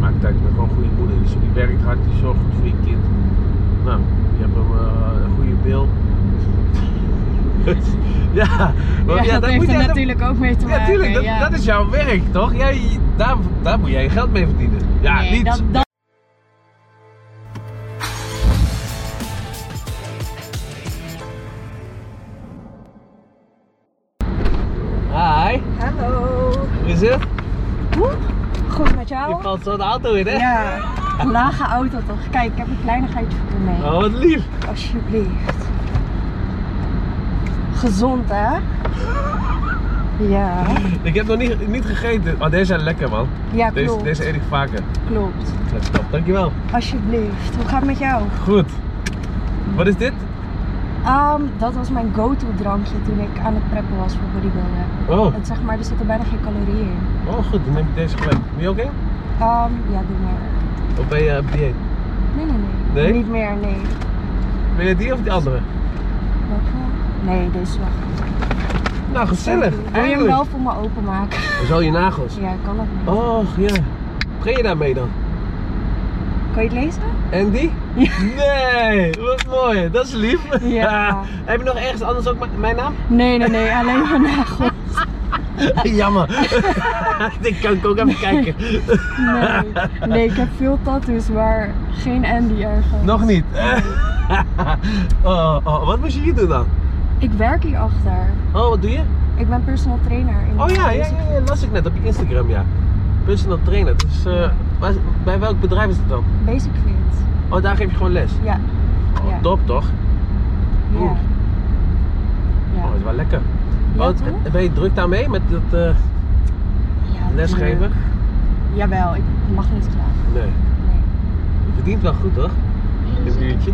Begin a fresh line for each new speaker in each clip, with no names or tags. mensen Dus die werkt hard, die zorgt goed voor je kind. Nou, je hebt een, eh, een goede bil. ja, want
ja, dat
daar
heeft
moet jij-
er
daar-
natuurlijk ook mee te maken.
Ja, tuurlijk, dat,
ja.
dat is jouw werk toch? Jij, daar, daar moet jij je geld mee verdienen. Ja,
Nee,
niet.
dat- dat-
Hi,
Hallo.
hoe is het?
Hoe? Goed met
Je
jou?
valt zo de auto in, hè?
Ja, een lage auto toch? Kijk, ik heb een kleinigheidje voor je mee.
Oh, wat lief.
Alsjeblieft. Gezond hè? Ja,
Ik heb nog niet, niet gegeten. Oh, deze zijn lekker, man.
ja
Deze,
klopt.
deze eet ik vaker.
klopt.
Dat is top, dankjewel.
Alsjeblieft. Hoe gaat het met jou?
Goed. Wat is dit?
Ehm, dat was mijn go-to drankje toen ik aan het preppen was voor bodybuilder.
Oh,
Het, zeg maar, er zitten bijna geen calorieën in.
oh goed, dan neem ik deze gelijk. Ben je oké?
Ehm, ja, doe maar.
Of ben je op dieet?
Nee, nee, nee.
Nee?
Niet meer, nee.
Ben je die of die andere?
Welke? Nee, deze wel.
Nou, gezellig.
Wil je hem
Eindelijk.
wel voor me openmaken?
Zo je nagels.
Ja, kan dat niet.
Oh, ja. Begin je daarmee dan?
Kan je het lezen?
Andy? Nee, wat mooi. Dat is lief.
Ja.
Heb je nog ergens anders ook mijn- mijn naam?
Nee, nee, nee. Alleen vandaag.
Jammer. Ik kan ik ook even kijken.
Nee. Nee, ik heb veel tattoos, maar geen Andy ergens.
Nog niet. oh, oh, wat moest je hier doen dan?
Ik werk hierachter.
Oh, wat doe je?
Ik ben personal trainer. In
Oh ja, ja,
deze-
ja, ja, las ik net op je Instagram, ja. Personal trainer. Dus eh, waar- bij welk bedrijf is het dan?
Basic fit.
Oh, daar geef je gewoon les.
Ja.
Oh,
Ja.
Top toch?
Ja.
Oeh. Oh,
Ja.
dat is wel lekker.
Ja,
oh,
toch?
ben je druk daarmee met dat eh,
Ja,
lesgeven?
tuurlijk. Jawel, ik mag niet klagen.
Nee.
Nee.
Je verdient wel goed toch? Een uurtje.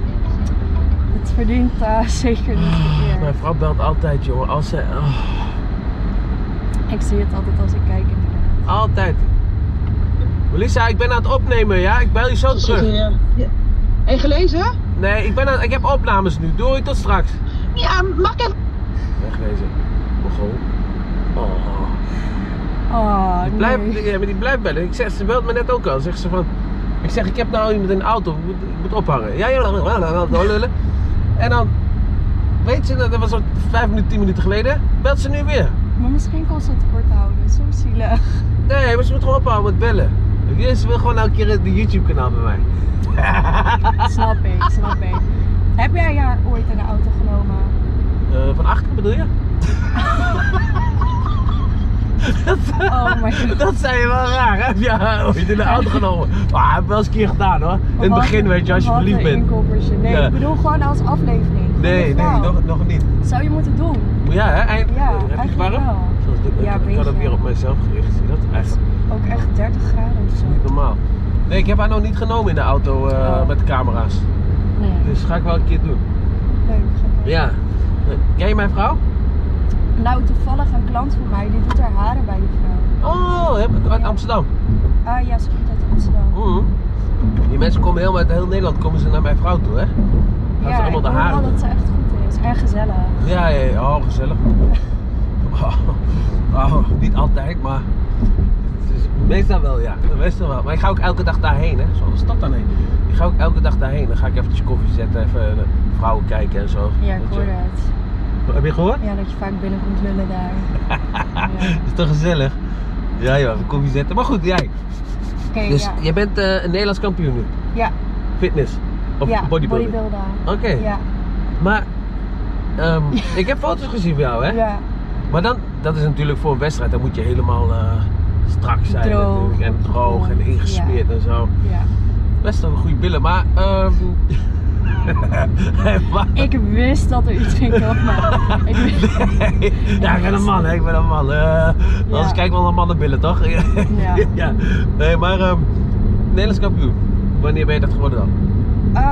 Het verdient eh, zeker niet
Mijn
verkeerd.
vrouw belt altijd, jongen. Als ze, oh,
Ik zie het altijd als ik kijk inderdaad.
altijd. Melissa, ik ben aan het opnemen, ja? Ik bel je zo
Zit
terug.
hier. Ja. En gelezen?
Nee, ik, ben aan, ik heb opnames nu. Doei, tot straks.
Ja, mag ik even.
Wegwezen. Mogol. Oh.
Oh,
Die
nee.
blijft, ja, maar die blijft bellen. Ik zeg, ze belt me net ook al. Zegt ze van, ik zeg, ik heb nou iemand in de auto, ik moet, ik moet ophangen. Ja, ja, ja, ja, ja, ja, ja, lullen. En dan, weet ze, dat was al vijf minuten, tien minuten geleden, belt ze nu weer.
Maar misschien kon ze het kort houden. Soms zielig.
Nee, maar ze moet gewoon ophouden met bellen. Ik- Ze wil gewoon elke keer de YouTube-kanaal bij mij.
snap ik, snap ik. Heb jij haar ooit in de auto genomen?
Eh, van achter bedoel je?
Oh my god.
Dat zei je wel raar. Heb je haar ooit in de auto genomen? Ah, heb ik wel eens een keer gedaan hoor. In het
Wat
begin,
een-
weet je, als je
wat
verliefd
een
bent.
inkoppertje. Nee,
Ja.
ik bedoel gewoon als aflevering. Goeie
Nee, nee,
vrouw.
nog, nog niet.
Zou je moeten doen?
Ja, hè? Eind...
Ja,
heb je het
eigenlijk
warm?
wel.
Zoals dit,
Ja,
ik, ik had
beetje.
het weer op mijzelf gericht. Zie je dat? Echt
Ook echt 30 graden of zo.
niet normaal. Nee, ik heb haar nog niet genomen in de auto eh,
Oh.
met camera's.
Nee,
Dus ga ik wel een keer doen.
leuk. grappig.
Ja. Eh, Jij mijn vrouw?
Nou, toevallig een klant van mij, die doet haar haren bij die vrouw.
Oh, heb- uit
Ja.
Amsterdam.
Ah ja, ze komt uit Amsterdam.
Mhm. Die mensen komen helemaal uit heel Nederland komen ze naar mijn vrouw toe, hè? Gaan
ja,
ze allemaal
ik
de
hoor
haren.
wel
doen.
dat ze echt goed is. En gezellig.
Ja, ja, ja, oh, gezellig. Oh, oh, niet altijd, maar het is meestal wel, ja. Meestal wel. Maar ik ga ook elke dag daarheen, hè. Zo de stad daarheen. Ik ga ook elke dag daarheen. Dan ga ik eventjes koffie zetten, even eh, vrouwen kijken en zo.
Ja, ik
Weet je.
hoorde het.
Heb je gehoord?
Ja, dat je vaak binnenkomt lullen daar. Ja.
Dat is toch gezellig? Ja, ja, even koffie zetten. Maar goed, jij.
Oké,
Dus
ja.
jij bent eh, een Nederlands kampioen nu?
Ja.
Fitness? Of
ja,
bodybuilding? Oké,
Ja,
maar ehm, ik heb foto's gezien van jou, hè?
ja,
Maar dan, dat is natuurlijk voor een wedstrijd, dan moet je helemaal eh, strak zijn
Droog,
natuurlijk. En droog en
opgevoed,
ingesmeerd en zo.
ja.
Best wel een goede billen, maar... ehm maar-
Ik wist dat er iets ging komen. Ik wist-
Nee. Ja, ik ben een man, hè. ik ben een man. Eh Anders kijken we wel naar mannenbillen, toch?
Ja.
ja. Nee, maar ehm, Nederlands kampioen. Wanneer ben je dat geworden dan?
Ehm,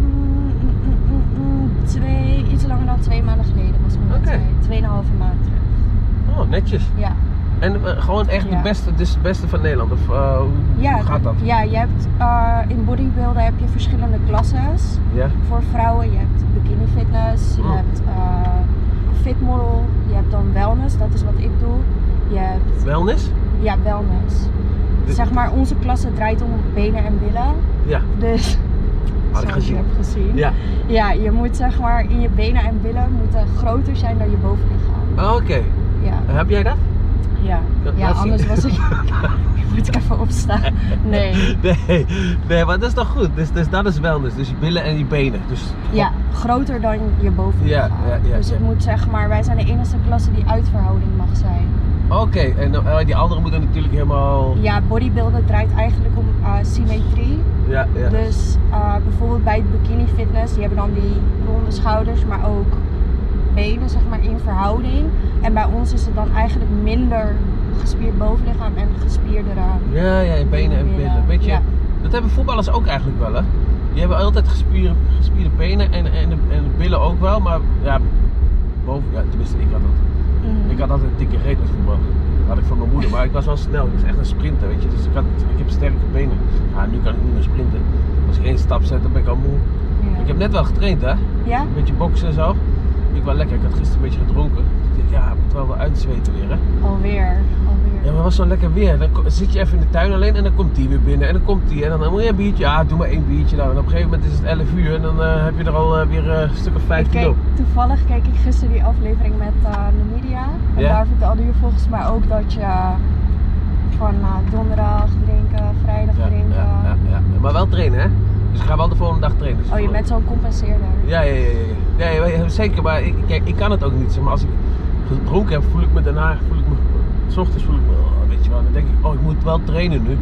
mm, mm, mm, mm, twee, iets langer dan twee maanden geleden was mijn
Oké.
wedstrijd. Tweeënhalve maand terug.
Oh, netjes.
Ja.
En eh, gewoon echt de
Ja.
beste, het is het beste van Nederland, of eh, hoe,
Ja,
hoe gaat dat?
Ja, je hebt eh, in bodybuilden heb je verschillende klasses.
Ja?
Voor vrouwen, je hebt bikini fitness, je
Oh.
hebt eh, fitmodel, je hebt dan wellness, dat is wat ik doe. Je hebt
Wellness?
Ja, wellness.
Dit-
zeg maar, onze klasse draait om benen en billen.
Ja,
Dus,
had ik
zoals je
gezien.
hebt gezien.
Ja,
Ja, je moet zeg maar, in je benen en billen moeten groter zijn dan je bovenlichaam.
Oh, oké.
Ja,
Heb jij dat?
ja.
Dat-
ja
dat zie-
anders was ik... moet ik even opstaan. Nee.
Nee, nee, maar dat is toch goed? Dus, dus dat is wellness. Dus je billen en je benen. Dus,
Ja, groter dan je bovenlichaam.
Ja, ja, ja,
dus het
ja.
moet zeg maar, wij zijn de enige klasse die uitverhouding mag zijn.
Oké, en dan- eh, die anderen moeten natuurlijk helemaal.
Ja, bodybuilder draait eigenlijk om eh, symmetrie.
Ja, ja.
Dus eh, bijvoorbeeld bij het bikini fitness, die hebben dan die ronde schouders, maar ook benen zeg maar in verhouding. En bij ons is het dan eigenlijk minder gespierd bovenlichaam en eh, gespierdere.
Ja, ja, je benen en billen. Beetje,
Ja.
Dat hebben voetballers ook eigenlijk wel, hè? Die hebben altijd gespierde, gespierde benen en, en, en de billen ook wel, maar ja, boven, ja, tenminste, ik had dat.
Mm.
Ik had altijd een dikke reet met voetbal. Dat had ik van mijn moeder, maar ik was wel snel. Ik was echt een sprinter, weet je. Dus ik, had, ik heb sterke benen. Ja, nu kan ik niet meer sprinten. Als ik één stap zet, dan ben ik al moe.
Ja.
Ik heb net wel getraind, hè? Een
ja?
beetje boksen en zo. Vind ik wel lekker. Ik had gisteren een beetje gedronken. Ik dacht, ja, ik moet wel wel uitzweten weer, hè?
Alweer. Alweer.
Ja, maar het was zo lekker weer. Dan ko- zit je even in de tuin alleen en dan komt die weer binnen. En dan komt die. En dan, moet je een biertje. Ja, doe maar één biertje dan. En op een gegeven moment is het 11 uur en dan eh, heb je er al eh, weer eh, een stuk of 5
Ik
kilo.
keek, toevallig keek ik gisteren die aflevering met eh Numidia. En
Ja.
daar vertelde je volgens mij ook dat je eh, van eh, donderdag drinken, vrijdag
Ja,
drinken.
ja, ja, ja. Maar wel trainen, hè? Dus ik ga wel de volgende dag trainen. Dus
Oh, je
voor-
bent zo'n compenseerder.
Ja, ja, ja, ja. ja, ja, ja, zeker, maar ik, kijk, ik kan het ook niet. Zeg maar als ik gedronken heb, voel ik me daarna, voel ik me, s ochtends voel ik me, oh, weet je wel, dan denk ik, oh, ik moet wel trainen nu.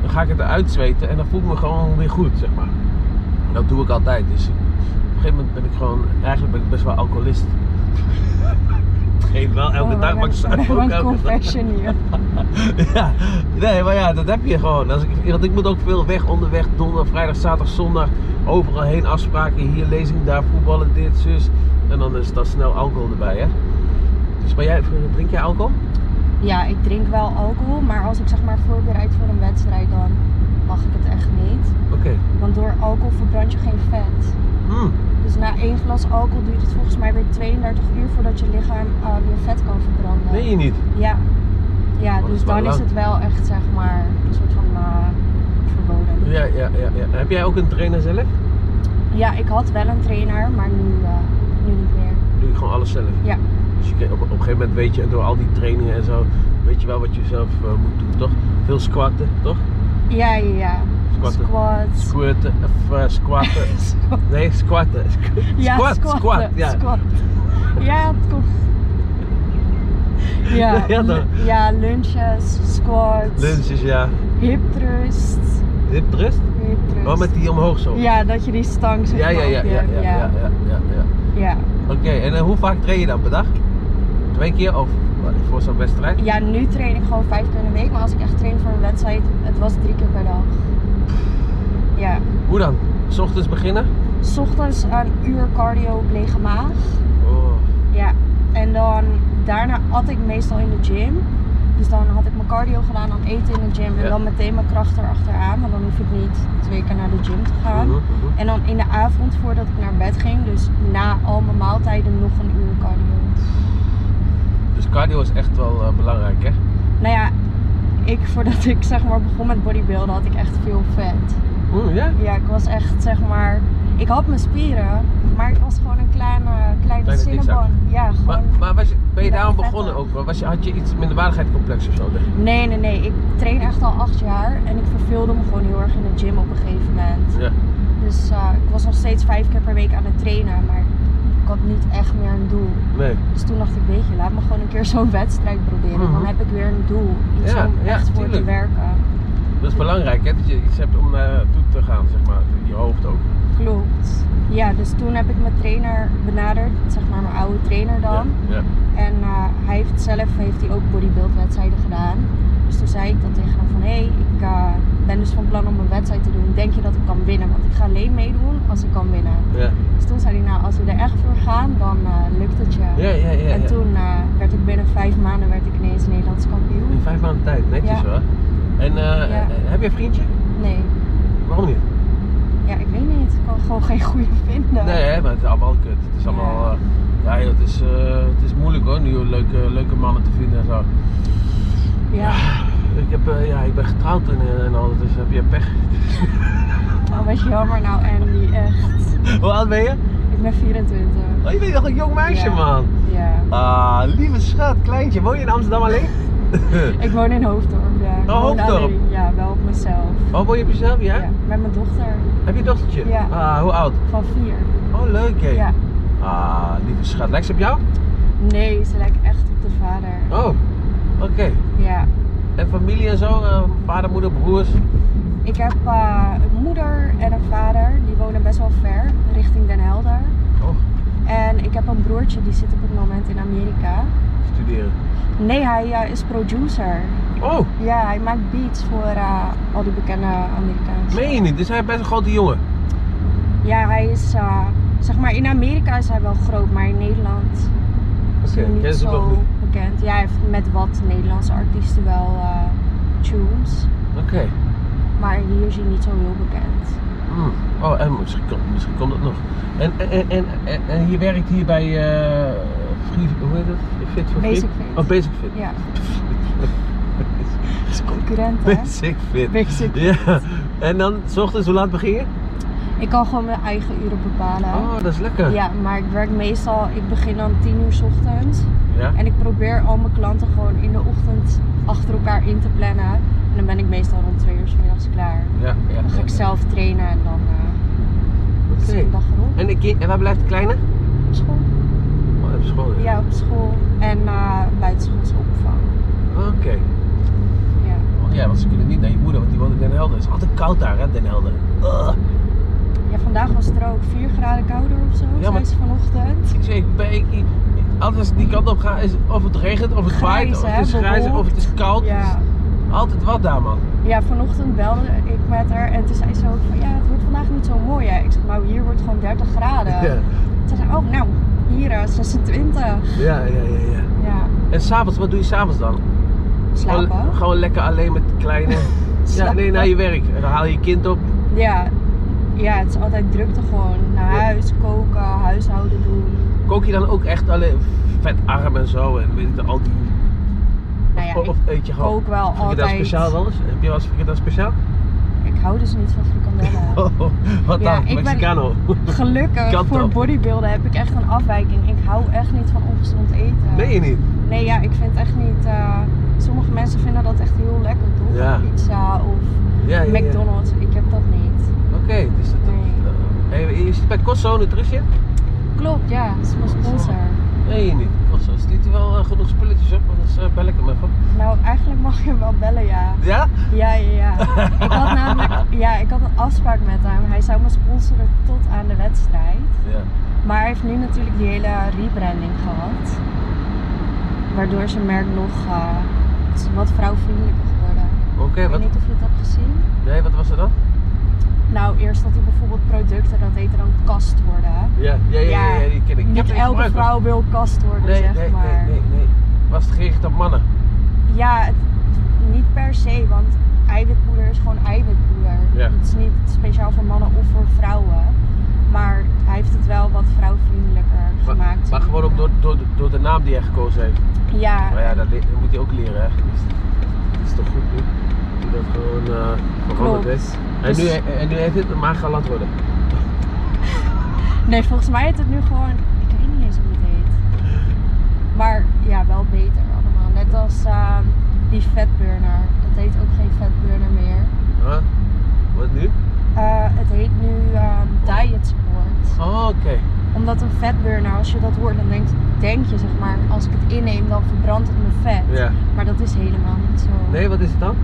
Dan ga ik het eruit zweten en dan voel ik me gewoon weer goed, zeg maar. En dat doe ik altijd, dus op een gegeven moment ben ik gewoon, eigenlijk ben ik best wel alcoholist. Geen wel elke
Oh,
dag, maar ik
we
zou
hebben- we
ook
hebben een
elke dag.
confession hier.
Ja, nee, maar ja, dat heb je gewoon. Als ik, want ik moet ook veel weg onderweg, donderdag, vrijdag, zaterdag, zondag. Overal heen afspraken, hier lezing, daar voetballen, dit, zus. En dan is dat snel alcohol erbij, hè? Dus maar jij, drink jij alcohol?
Ja, ik drink wel alcohol, maar als ik zeg maar voorbereid voor een wedstrijd, dan mag ik het echt niet.
Oké.
Want door alcohol verbrand je geen vet.
Hmm.
Dus na één glas alcohol duurt het volgens mij weer 32 uur voordat je lichaam eh, weer vet kan verbranden.
Meen je niet?
Ja. Ja,
dat is
dus
wel
dan is
lang.
het wel echt zeg maar een soort van eh, verboden.
Ja, ja, ja, ja. Heb jij ook een trainer zelf?
Ja, ik had wel een trainer, maar nu, eh, nu niet meer.
Doe je gewoon alles zelf?
Ja.
Dus je, op, op een gegeven moment weet je, door al die trainingen en zo, weet je wel wat je zelf eh, moet doen, toch? Veel squatten, toch?
Ja, ja, ja.
Squatten.
Squats.
Squirten, of eh, squatten. Nee, squatten.
Ja,
squat,
squatten,
squat, ja.
squat. Ja, het komt. Ja,
Ja, dan.
lu- ja, lunches, squats,
Lunches, ja.
hip thrust,
Hip thrust?
hip thrust.
Oh, met die omhoog zo?
Ja, dat je die stang zeg
ja, ja,
maar
ja,
op
ja,
je-
ja, ja, ja, ja, ja.
ja.
Oké, en eh, hoe vaak train je dan per dag? Twee keer of wat, voor zo'n wedstrijd?
Ja, nu train ik gewoon vijf keer in de week, maar als ik echt train voor een wedstrijd, het was drie keer per dag. Ja.
Hoe dan? 's ochtends beginnen?
S ochtends een uur cardio op lege maag.
Oh,
Ja, en dan daarna at ik meestal in de gym. Dus dan had ik mijn cardio gedaan, dan eten in de gym en
Ja.
dan meteen mijn kracht erachteraan. Want dan hoef ik niet twee keer naar de gym te gaan.
mhm, mhm.
En dan in de avond voordat ik naar bed ging, dus na al mijn maaltijden nog een uur cardio.
Dus cardio is echt wel eh, belangrijk, hè?
Nou ja, ik voordat ik zeg maar begon met bodybuilden had ik echt veel vet.
Mm, ja?
Ja, ik was echt zeg maar, ik had mijn spieren, maar ik was gewoon een kleine, kleine
Kleine dikzak.
cinnabon. Ja, gewoon.
Maar, maar was je, ben je
Ja,
daarom
vet,
begonnen
hè?
ook? wel? Was je, had je iets minderwaardigheidscomplex of zo? denk ik?
Nee, nee, nee. Ik train echt al acht jaar en ik verveelde me gewoon heel erg in de gym op een gegeven moment.
Ja.
Dus eh, ik was nog steeds vijf keer per week aan het trainen, maar ik had niet echt meer een doel.
Nee.
Dus toen dacht ik, weet je, laat me gewoon een keer zo'n wedstrijd proberen. Dan
Mhm.
heb ik weer een doel, iets
Ja,
om
ja,
echt voor te
tuurlijk.
werken.
Dat is belangrijk, hè? Dat je iets hebt om eh toe te gaan, zeg maar. In je hoofd ook.
Klopt. Ja, dus toen heb ik mijn trainer benaderd, zeg maar mijn oude trainer dan.
Ja. ja.
En eh, hij heeft zelf heeft hij ook bodybuildwedstrijden gedaan. Dus toen zei ik dan tegen hem van hé, hey, ik eh, ben dus van plan om een wedstrijd te doen. Denk je dat ik kan winnen? Want ik ga alleen meedoen als ik kan winnen.
Ja,
Dus toen zei hij nou, als we er echt voor gaan, dan eh, lukt het je.
ja, ja. ja,
en
ja.
toen eh, werd ik binnen vijf maanden werd ik ineens Nederlands kampioen.
In vijf maanden tijd, netjes
Ja.
hoor. En eh,
Ja.
heb je een vriendje?
Nee,
Waarom niet?
ja ik weet niet. Ik kan gewoon geen goede vinden.
Nee, hè, maar het is allemaal kut. Het is
Ja.
allemaal. eh, ja, joh, het, is, eh, het is moeilijk hoor, nu leuke, leuke mannen te vinden en zo.
Ja,
Ik, heb, eh, ja, ik ben getrouwd en, eh, en al, dus heb je pech.
Oh, wat jammer nou, Andy. Echt.
Hoe oud ben je?
Ik ben 24.
Oh, je bent nog een jong meisje,
Ja.
man.
Ja.
Ah, lieve schat, kleintje. Woon je in Amsterdam alleen?
Ik woon in Hoofddorp, ja. Ik
Oh,
woon
Hoofddorp.
alleen. Ja, wel op mezelf.
oh, woon je op jezelf, ja?
Ja, Met mijn dochter
Heb je een dochtertje?
Ja.
Ah, hoe oud?
van vier.
Oh, leuk, hé.
Ja.
Ah, lieve schat. Lijkt ze op jou?
Nee, ze lijkt echt op de vader.
Oh, oké.
Ja.
En familie en zo? eh, vader, moeder, broers?
Ik heb eh, een moeder en een vader. Die wonen best wel ver, richting Den Helder.
Oh,
En ik heb een broertje, die zit op het moment in Amerika.
studeren.
Nee, hij eh, is producer.
Oh,
Ja, hij maakt beats voor eh, al die bekende Amerikaanse.
meen je niet? Dus hij is best een grote jongen.
Ja, hij is, eh, zeg maar, in Amerika is hij wel groot, maar in Nederland is hij
Oké,
niet
ken ze hem nog
Mm, zo
niet.
bekend. Ja, hij heeft met wat Nederlandse artiesten wel eh, tunes,
Oké.
maar hier is hij niet zo heel bekend.
Hmm. Oh, en misschien, komt- misschien komt het nog. En, en, en, en, en je werkt hier bij eh, Free, hoe heet het? Fit for
Basic
Fit?
Fit.
Oh, Basic Fit.
Ja, het is concurrent hè?
Basic Fit.
Basic.
Ja. En dan, s ochtends, hoe laat begin je?
Ik kan gewoon mijn eigen uren bepalen.
Oh, dat is lekker.
Ja, maar ik werk meestal, ik begin dan 10 uur 's ochtends.
Ja?
En ik probeer al mijn klanten gewoon in de ochtend achter elkaar in te plannen. En dan ben ik meestal rond 2 uur 's middags klaar.
Ja, ja.
Dan ga ik Dus zelf trainen en dan eh
Oké.
zit de dag erop.
En, de kind- en waar blijft de kleine?
Op school?
Oh, op school.
Ja, op school. En eh buitenschoolse opvang.
Oké.
Ja.
Oh, ja, want ze kunnen niet naar je moeder, want die woont in Den Helder. Het is altijd koud daar, hè, Den Helder. Ugh.
ja, vandaag was het er ook 4 graden kouder of zo,
Ja,
zei
maar-
ze vanochtend.
Ik zeg, ik ben, ik, ik- altijd als ik die kant op ga, is het of het regent, of het waait,
Grijs,
of het
hè,
is grijs, of het is koud.
Ja.
Altijd wat daar, man.
ja, vanochtend belde ik met haar en toen zei ze ook van ja, het wordt vandaag niet zo mooi hè. Ik zeg nou, hier wordt gewoon 30 graden.
Ja,
Toen zei ze, oh nou, hier eh, 26.
ja, ja, ja. ja.
Ja,
En s'avonds, wat doe je s'avonds dan? Gewoon,
slapen.
gewoon lekker alleen met de kleine. ja, nee,
Slapen.
naar je werk. En dan haal je je kind op.
Ja. ja, het is altijd drukte gewoon. Naar
Ja.
huis, koken, huishouden doen.
Kook je dan ook echt alleen vet arm en zo en weet ik dan, al die.
Nou ja,
of, of eet je
ik
gewoon.
kook wel
Vind Oh, je
altijd.
dat speciaal wel eens? Heb je wel eens vind je dat speciaal?
Ik hou dus niet van frikandellen.
Oh, wat
Ja,
dan?
ik ben-
Mexicano.
Gelukkig
Kan
voor
toch?
bodybuilden heb ik echt een afwijking. Ik hou echt niet van ongezond eten.
Ben je niet?
Nee, ja, ik vind echt niet. eh, sommige mensen vinden dat echt heel lekker, toch?
Ja.
Pizza of
Ja, ja, ja.
McDonald's. Ik heb dat niet.
Oké, dus dat.
Nee.
Hey, je zit bij Costco Nutrition?
Klopt, ja. Dat is mijn sponsor.
Nee, je niet. Costco, stiet hij wel eh, genoeg spulletjes op, anders eh, bel ik hem even.
Nou, eigenlijk mag je hem wel bellen, ja.
Ja?
Ja, ja, ja. ik had namelijk ja, ik had een afspraak met hem. Hij zou me sponsoren tot aan de wedstrijd.
Ja.
Maar hij heeft nu natuurlijk die hele rebranding gehad. Waardoor zijn merk nog eh, is wat vrouwvriendelijker geworden.
Oké,
Ik weet
wat?
niet of je het hebt gezien.
Nee, wat was er dan?
Nou, eerst dat hij bijvoorbeeld producten, dat heette dan kast worden.
Ja, ja, ja, ja, ja, die ken ik. ik heb
Niet
er
elke
gebruikt,
vrouw wil kast worden,
Nee,
zeg
nee,
maar.
nee, nee, nee. Was het gericht op mannen?
Ja, het, niet per se, want eiwitpoeder is gewoon eiwitpoeder.
Ja.
Het is niet speciaal voor mannen of voor vrouwen. Maar hij heeft het wel wat vrouwvriendelijker
Maar-
gemaakt.
Maar gewoon ook door, door, de- door de naam die hij gekozen heeft.
Ja,
Maar ja, dat, le- dat moet hij ook leren, hè. Dat is, dat is toch goed nu? Dat hij dat gewoon eh veranderd
klopt.
heeft. En
Dus-
nu, en nu heeft het een magalat worden.
Nee, volgens mij heet het nu gewoon. Ik weet niet eens hoe het heet. Maar ja, wel beter allemaal. Net als ehm, die fatburner. Het heet ook geen fatburner meer.
Huh? Wat nu?
Eh, het heet nu ehm, diet support.
Oh, oké.
Omdat een fatburner, als je dat hoort, dan denk, denk je zeg maar, als ik het inneem, dan verbrandt het mijn vet.
Ja.
Maar dat is helemaal niet zo.
Nee, wat is het dan?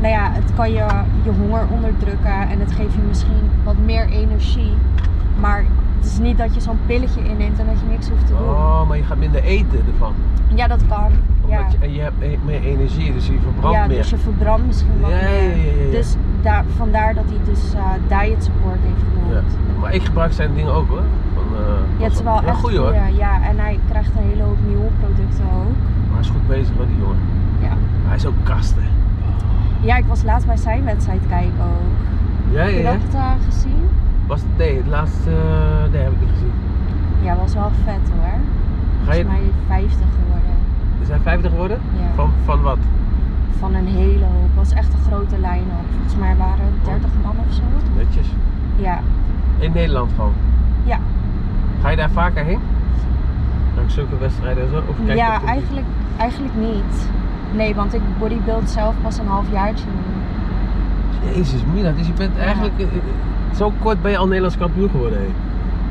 Nou ja, het kan je, je honger onderdrukken en het geeft je misschien wat meer energie. Maar het is niet dat je zo'n pilletje inneemt en dat je niks hoeft te doen.
Oh, maar je gaat minder eten ervan.
Ja, dat kan. Ja,
Omdat je, en je hebt e- meer energie, dus je verbrandt
ja
meer.
dus je verbrandt misschien wat
Ja, ja,
meer.
ja, ja, ja.
Dus daar, vandaar dat hij dus eh, diet support heeft
Ja.
genoemd.
Maar ik gebruik zijn dingen ook hoor. Van, eh,
Ja, het is wel
ja,
echt
goeie, hoor.
goeie. Ja, en hij krijgt een hele hoop nieuwe producten ook.
Maar hij is goed bezig hoor, die jongen.
Ja.
Hij is ook kast, hè.
Ja, ik was laatst bij zijn wedstrijd kijken ook.
Ja,
Heb je
Oh, ja, ja.
dat eh, gezien?
Was het, nee, het laatste, eh, nee, heb ik niet gezien.
Ja, was wel vet hoor.
Ga
Volgens
je,
mij 50 geworden.
is hij 50 geworden?
Ja.
Van, van wat?
Van een hele hoop. Het was echt een grote lijn ook. Volgens mij waren het 30 man of zo.
Netjes.
Ja.
In Nederland gewoon?
Ja.
Ga je daar vaker heen? Langs zulke wedstrijden en zo? Of kijk je op
ja,
de-
eigenlijk, eigenlijk niet. Nee, want ik bodybuild zelf pas een halfjaartje nu.
Jezus, Mina, dus je bent
Ja.
eigenlijk... eh, eh, Zo kort ben je al Nederlands kampioen geworden, hé.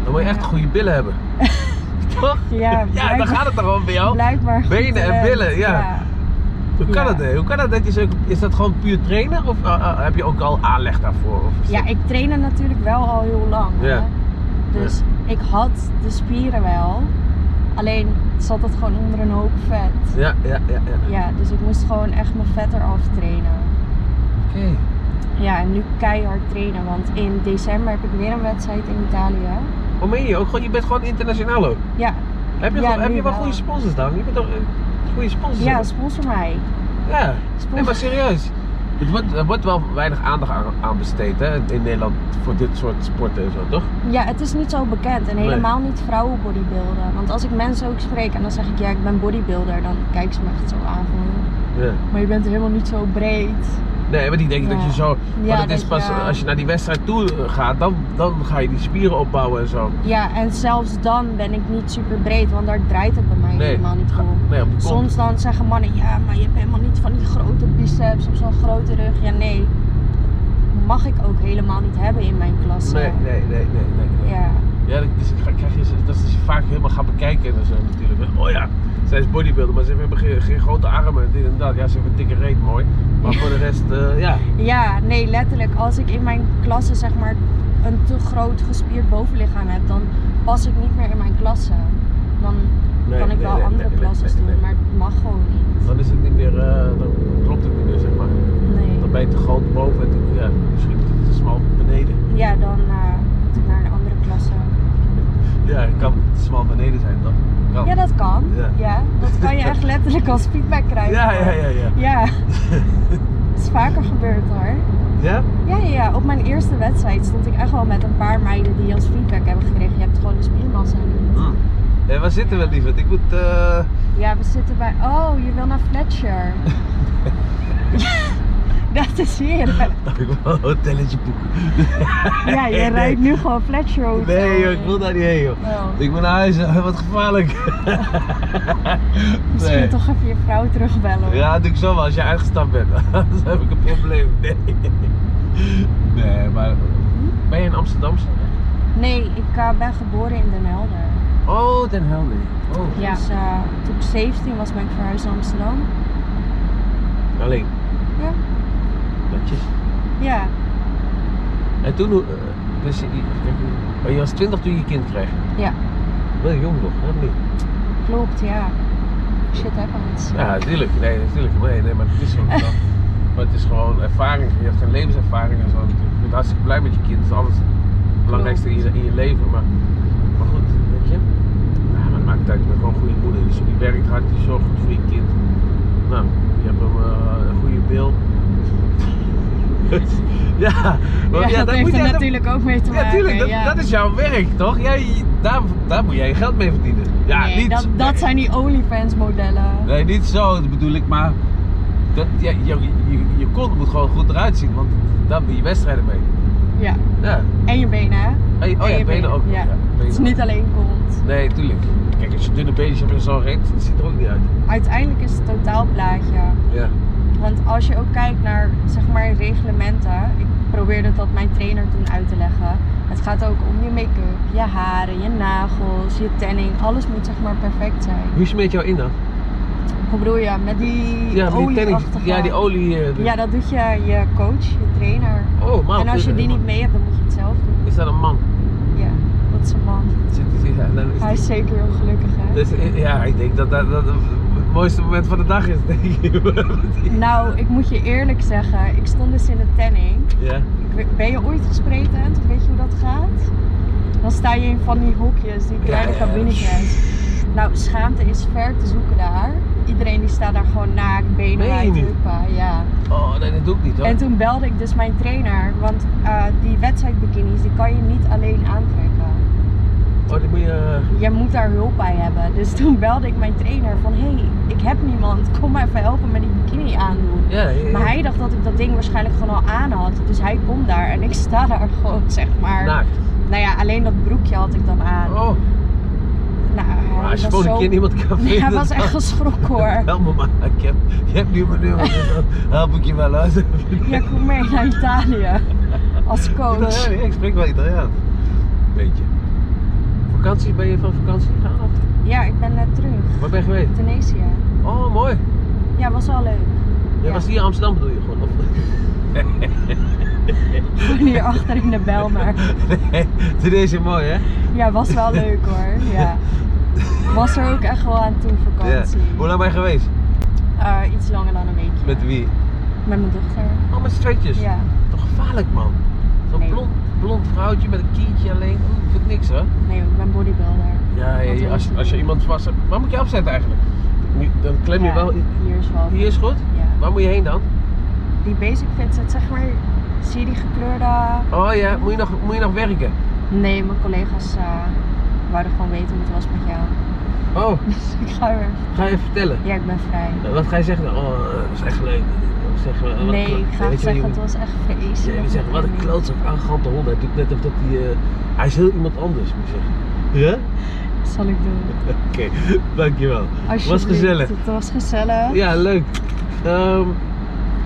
Dan moet je echt
Ja.
goede billen hebben. Toch?
Ja,
Ja, dan
blijkbaar-
gaat het toch wel bij jou?
Blijkbaar. goed
Nou,
eh,
Benen en
talent,
billen, ja. Hoe kan
Ja.
dat, hè? Hoe kan dat dat je zo... Is dat gewoon puur trainen? Of eh, eh, heb je ook al aanleg daarvoor? Of is
Ja,
dat-
ik trainde natuurlijk wel al heel lang. hè.
Ja.
Dus ik had de spieren wel. Alleen zat het gewoon onder een hoop vet.
Ja, ja, ja. ja.
Ja, dus ik moest gewoon echt mijn vet eraf trainen.
Oké.
Ja, en nu keihard trainen. Want in december heb ik weer een wedstrijd in Italië.
Hoe meen je ook? Gewoon, je bent gewoon internationaal ook.
Ja,
Heb je,
Ja,
gewoon- heb
nu
je wel
wel.
goede sponsors dan? Je bent toch eh, goede sponsors?
ja
hebben?
sponsor mij.
Ja. Nee, maar
Sponsor.
serieus. Het wordt, er wordt wel weinig aandacht aan, aan besteed hè, in Nederland voor dit soort sporten en zo, toch?
Ja, het is niet zo bekend. En helemaal niet vrouwen bodybuilden. Want als ik mensen ook spreek en dan zeg ik ja, ik ben bodybuilder. Dan kijken ze me echt zo aan van...
Ja.
Maar je bent helemaal niet zo breed.
Nee, maar die denken dat
Ja.
je zo...
Ja,
want het is
dat
pas
je-
als je naar die wedstrijd toe eh, gaat, dan, dan ga je die spieren opbouwen en zo.
Ja, en zelfs dan ben ik niet super breed, want daar draait het bij mij
Nee.
helemaal niet om.
Nee, op de kont.
Soms dan zeggen mannen, ja, maar je hebt helemaal niet van die grote biceps of zo'n grote rug. Ja, nee. Dat mag ik ook helemaal niet hebben in mijn klasse.
Nee, nee, nee, nee. nee, nee.
Ja.
Ja, dat, is, ga- krijg je, dat is vaak helemaal gaan bekijken en zo natuurlijk. Oh ja, zij is bodybuilder, maar ze hebben geen, geen grote armen en dit en dat. Ja, ze hebben een dikke reet, mooi. Maar voor de rest, eh, ja.
ja, nee, letterlijk. Als ik in mijn klasse zeg maar een te groot gespierd bovenlichaam heb, dan pas ik niet meer in mijn klasse. Dan
Nee,
kan ik
nee,
wel
nee,
andere
nee, nee,
klasses
nee,
doen,
nee.
maar het mag gewoon niet.
Dan is het niet meer, eh, dan klopt het niet meer, zeg maar.
Nee.
Dan ben je te groot boven en te- ja, misschien te, te smal beneden.
Ja, dan eh, moet ik naar een andere klasse.
Ja, het kan te smal beneden zijn, toch? Kan.
Ja, dat kan.
Oh. Ja.
Ja. dat kan je echt letterlijk als feedback krijgen.
ja, ja, ja, ja.
Ja, het is vaker gebeurd hoor.
Ja?
Ja, ja, ja. Op mijn eerste wedstrijd stond ik echt wel met een paar meiden die als feedback hebben gekregen. Je hebt gewoon de spiermassa niet.
Hm. Hé, waar zitten we, lieverd? Ik moet, eh,
Ja, we zitten bij... Oh, je wil naar Fletcher. dat is heerlijk.
ik wil een hotelletje boeken.
Ja, je
Nee,
rijdt nu gewoon Fletcher Hotel.
Nee, joh, ik wil daar niet heen, joh.
Oh.
Ik ben naar huis, eh, wat gevaarlijk.
Misschien
Nee.
toch even je vrouw terugbellen.
Ja, dat doe ik zo wel als je uitgestapt bent. Anders heb ik een probleem. Nee. Nee, maar. Ben je een Amsterdamse?
Nee, ik eh, ben geboren in Den Helder.
Oh, Den Helder. Oh,
Dus eh, toen ik 17 was, ben ik verhuisd naar Amsterdam.
alleen.
Ja.
Netjes.
Ja,
En toen, hoe- eh, dus, je- je- oh, je was 20 toen je je kind kreeg?
Ja.
Wel jong nog, hè? Niet.
klopt, ja. Shit happens.
Ja, natuurlijk. Nee, natuurlijk. Nee, nee, maar het is zo. maar het is gewoon ervaring. Je hebt geen levenservaring en zo. natuurlijk. Je bent hartstikke blij met je kind. Dat is alles het belangrijkste in je, in je leven. Maar, maar goed, weet je. Ja, maar het maakt uit. Je bent gewoon een goede moeder. Dus die werkt hard, die zorgt goed voor je kind. Nou, je hebt hem, eh, een goede bil. ja, maar
Ja, dat, heeft er
jij-
natuurlijk ook mee te maken.
Ja, tuurlijk, dat,
ja.
dat is jouw werk, toch? Jij, daar, daar moet jij je geld mee verdienen. Ja,
Nee,
niet,
dat, dat zijn die OnlyFans modellen.
Nee, niet zo bedoel ik, maar dat, ja, je, je, je kont moet gewoon goed eruit zien, want daar ben je wedstrijden mee.
Ja.
Ja.
En je benen, hè?
En je- oh
En
ja,
je
benen,
benen,
ook.
ja.
benen
Het is
ook.
niet alleen kont.
Nee, tuurlijk. Kijk, als je dunne beentjes hebt en zo reed, dat ziet er ook niet uit.
Uiteindelijk is het totaalplaatje.
Ja.
Want als je ook kijkt naar, zeg maar, reglementen. Ik probeerde dat mijn trainer toen uit te leggen. Het gaat ook om je make-up, je haren, je nagels, je tanning. Alles moet, zeg maar, perfect zijn.
Hoe smeet jou in dan?
Hoe bedoel je? Met die
Ja, die tennis.
olieachtige-
Ja, die olie. eh, de-
Ja, dat doet je, je coach, je trainer.
Oh, man.
en als je die niet mee hebt, dan moet je het zelf doen.
Is dat een man?
Ja, dat is een man.
Zit, zit, ja, dan is
Hij is zeker heel gelukkig, hè?
dus, eh, ja, ik denk dat dat, dat het mooiste moment van de dag is, denk ik.
Nou, ik moet je eerlijk zeggen, ik stond dus in de tanning.
Ja.
Ik we- Ben je ooit gespreten? Of weet je hoe dat gaat? Dan sta je in van die hokjes, die kleine
ja, ja.
cabinetjes. Nou, schaamte is ver te zoeken daar. Iedereen die staat daar gewoon naakt, benen
Meen je
wijd,
niet?
huppen, ja.
Oh, nee, dat doe ik niet hoor.
En toen belde ik dus mijn trainer, want eh, die wedstrijdbikinis, die kan je niet alleen aantrekken.
Oh, die moet je... eh,
Jij moet daar hulp bij hebben. Dus toen belde ik mijn trainer van, hé, hey, ik heb niemand. Kom maar even helpen met die bikini aandoen.
Ja, ja, ja.
Maar hij dacht dat ik dat ding waarschijnlijk gewoon al aan had. Dus hij komt daar en ik sta daar gewoon, zeg maar.
Naakt.
Nou ja, alleen dat broekje had ik dan aan.
Oh,
Nou, hij
maar als je
was
volgende
zo-
keer niemand kan
Nee,
vinden...
hij was echt
dan-
geschrokken hoor.
Help me maar, ik heb, je hebt nu mijn nummer, dus dan help ik je wel uit.
Ja, kom mee naar Italië. Als coach.
Italiaan, ja, ik spreek wel Italiaans. Beetje. Vakantie, ben je van vakantie gegaan? of?
Ja, ik ben net terug.
Waar ben je geweest?
Tunesië.
Oh, mooi.
Ja, was wel leuk.
Jij
Ja.
was hier in Amsterdam bedoel je gewoon? Of?
Hier achter in de bel maar.
Nee, Tunesië mooi hè?
Ja, was wel leuk hoor. Ja. Was er ook echt wel aan toe vakantie.
Hoe lang ben je geweest?
Eh, iets langer dan een weekje.
Met wie?
Met mijn dochter.
Oh, met straightjes.
Ja.
Toch gevaarlijk man. Zo'n
Nee.
blond, blond vrouwtje met een kientje alleen. Oeh, vind ik niks hè?
Nee, ik ben bodybuilder.
Ja, ja,
Wat
ja,
wil
als,
je
als je
doen?
iemand vast hebt. Waar moet je afzetten eigenlijk? Nu, Dan klem je
Ja,
wel.
Hier is wel.
Hier is goed.
Ja.
Waar moet je heen dan?
Die basic fit zit zeg maar. Zie je die gekleurde.
Oh ja, moet je nog, moet je nog werken?
Nee, mijn collega's eh, wouden gewoon weten hoe het was met jou.
Oh,
Dus ik ga weer.
ga je even vertellen.
Ja, ik ben vrij.
Nou, Wat ga je zeggen? dan? Oh, dat is echt leuk. Of Zeg, eh, wat
Nee,
klo-
ik ga
Weet je wat
zeggen,
je
het was echt feest.
Ja, die zeggen, wat een klootzak arrogante hond. Hij doet net of dat hij... eh, hij is heel iemand anders, moet ik zeggen. Ja?
Zal ik doen.
Oké, dankjewel.
Alsjeblieft.
gezellig.
Het was gezellig.
Ja, leuk. Ehm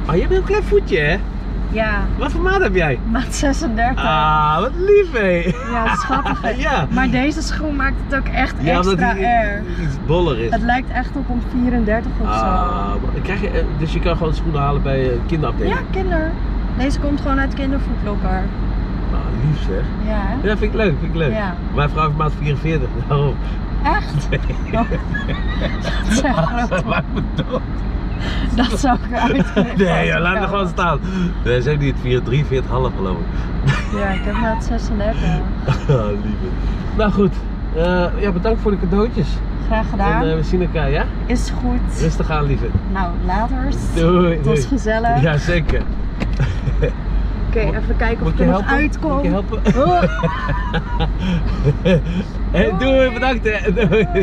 ah, je hebt een heel klein voetje, hè?
Ja,
Wat voor maat heb jij?
maat 36.
Ah, wat lief, hé.
Ja, schattig. hè?
Ja.
Maar deze schoen maakt het ook echt
ja, omdat
extra
hij
erg.
iets boller is.
Het lijkt echt op een 34 of zo.
Ah, maar krijg je, eh, dus je kan gewoon schoenen halen bij eh, een kinderafdeling?
Ja, kinder. Deze komt gewoon uit kindervoetlokker.
Ah, lief zeg.
Ja, hè?
Ja, vind ik leuk, vind ik leuk.
Ja.
Mijn vrouw heeft maat 44, daarom.
Echt? Oh. Dat is echt
Ze
groot.
maakt me dood.
Dat zou ik eruit knippen.
Nee, ja, laat me gewoon staan. Nee, zijn die het 43, 43, half geloof ik.
Ja, ik heb maat 36.
Ah, lieve. Nou goed, Eh, ja, bedankt voor de cadeautjes.
Graag gedaan.
En eh, we zien elkaar, ja?
Is goed.
Rustig aan, lieve.
Nou, later.
Doei.
Het was
doei.
gezellig.
Ja, zeker.
Oké, even kijken
Moet
of ik
je
er nog
helpen?
uitkom.
Moet je helpen?
Oh.
Hey, doei,
Doei.
bedankt hè. Doei.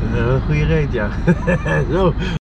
Doei.
Eh, Een goede reet, ja. Zo,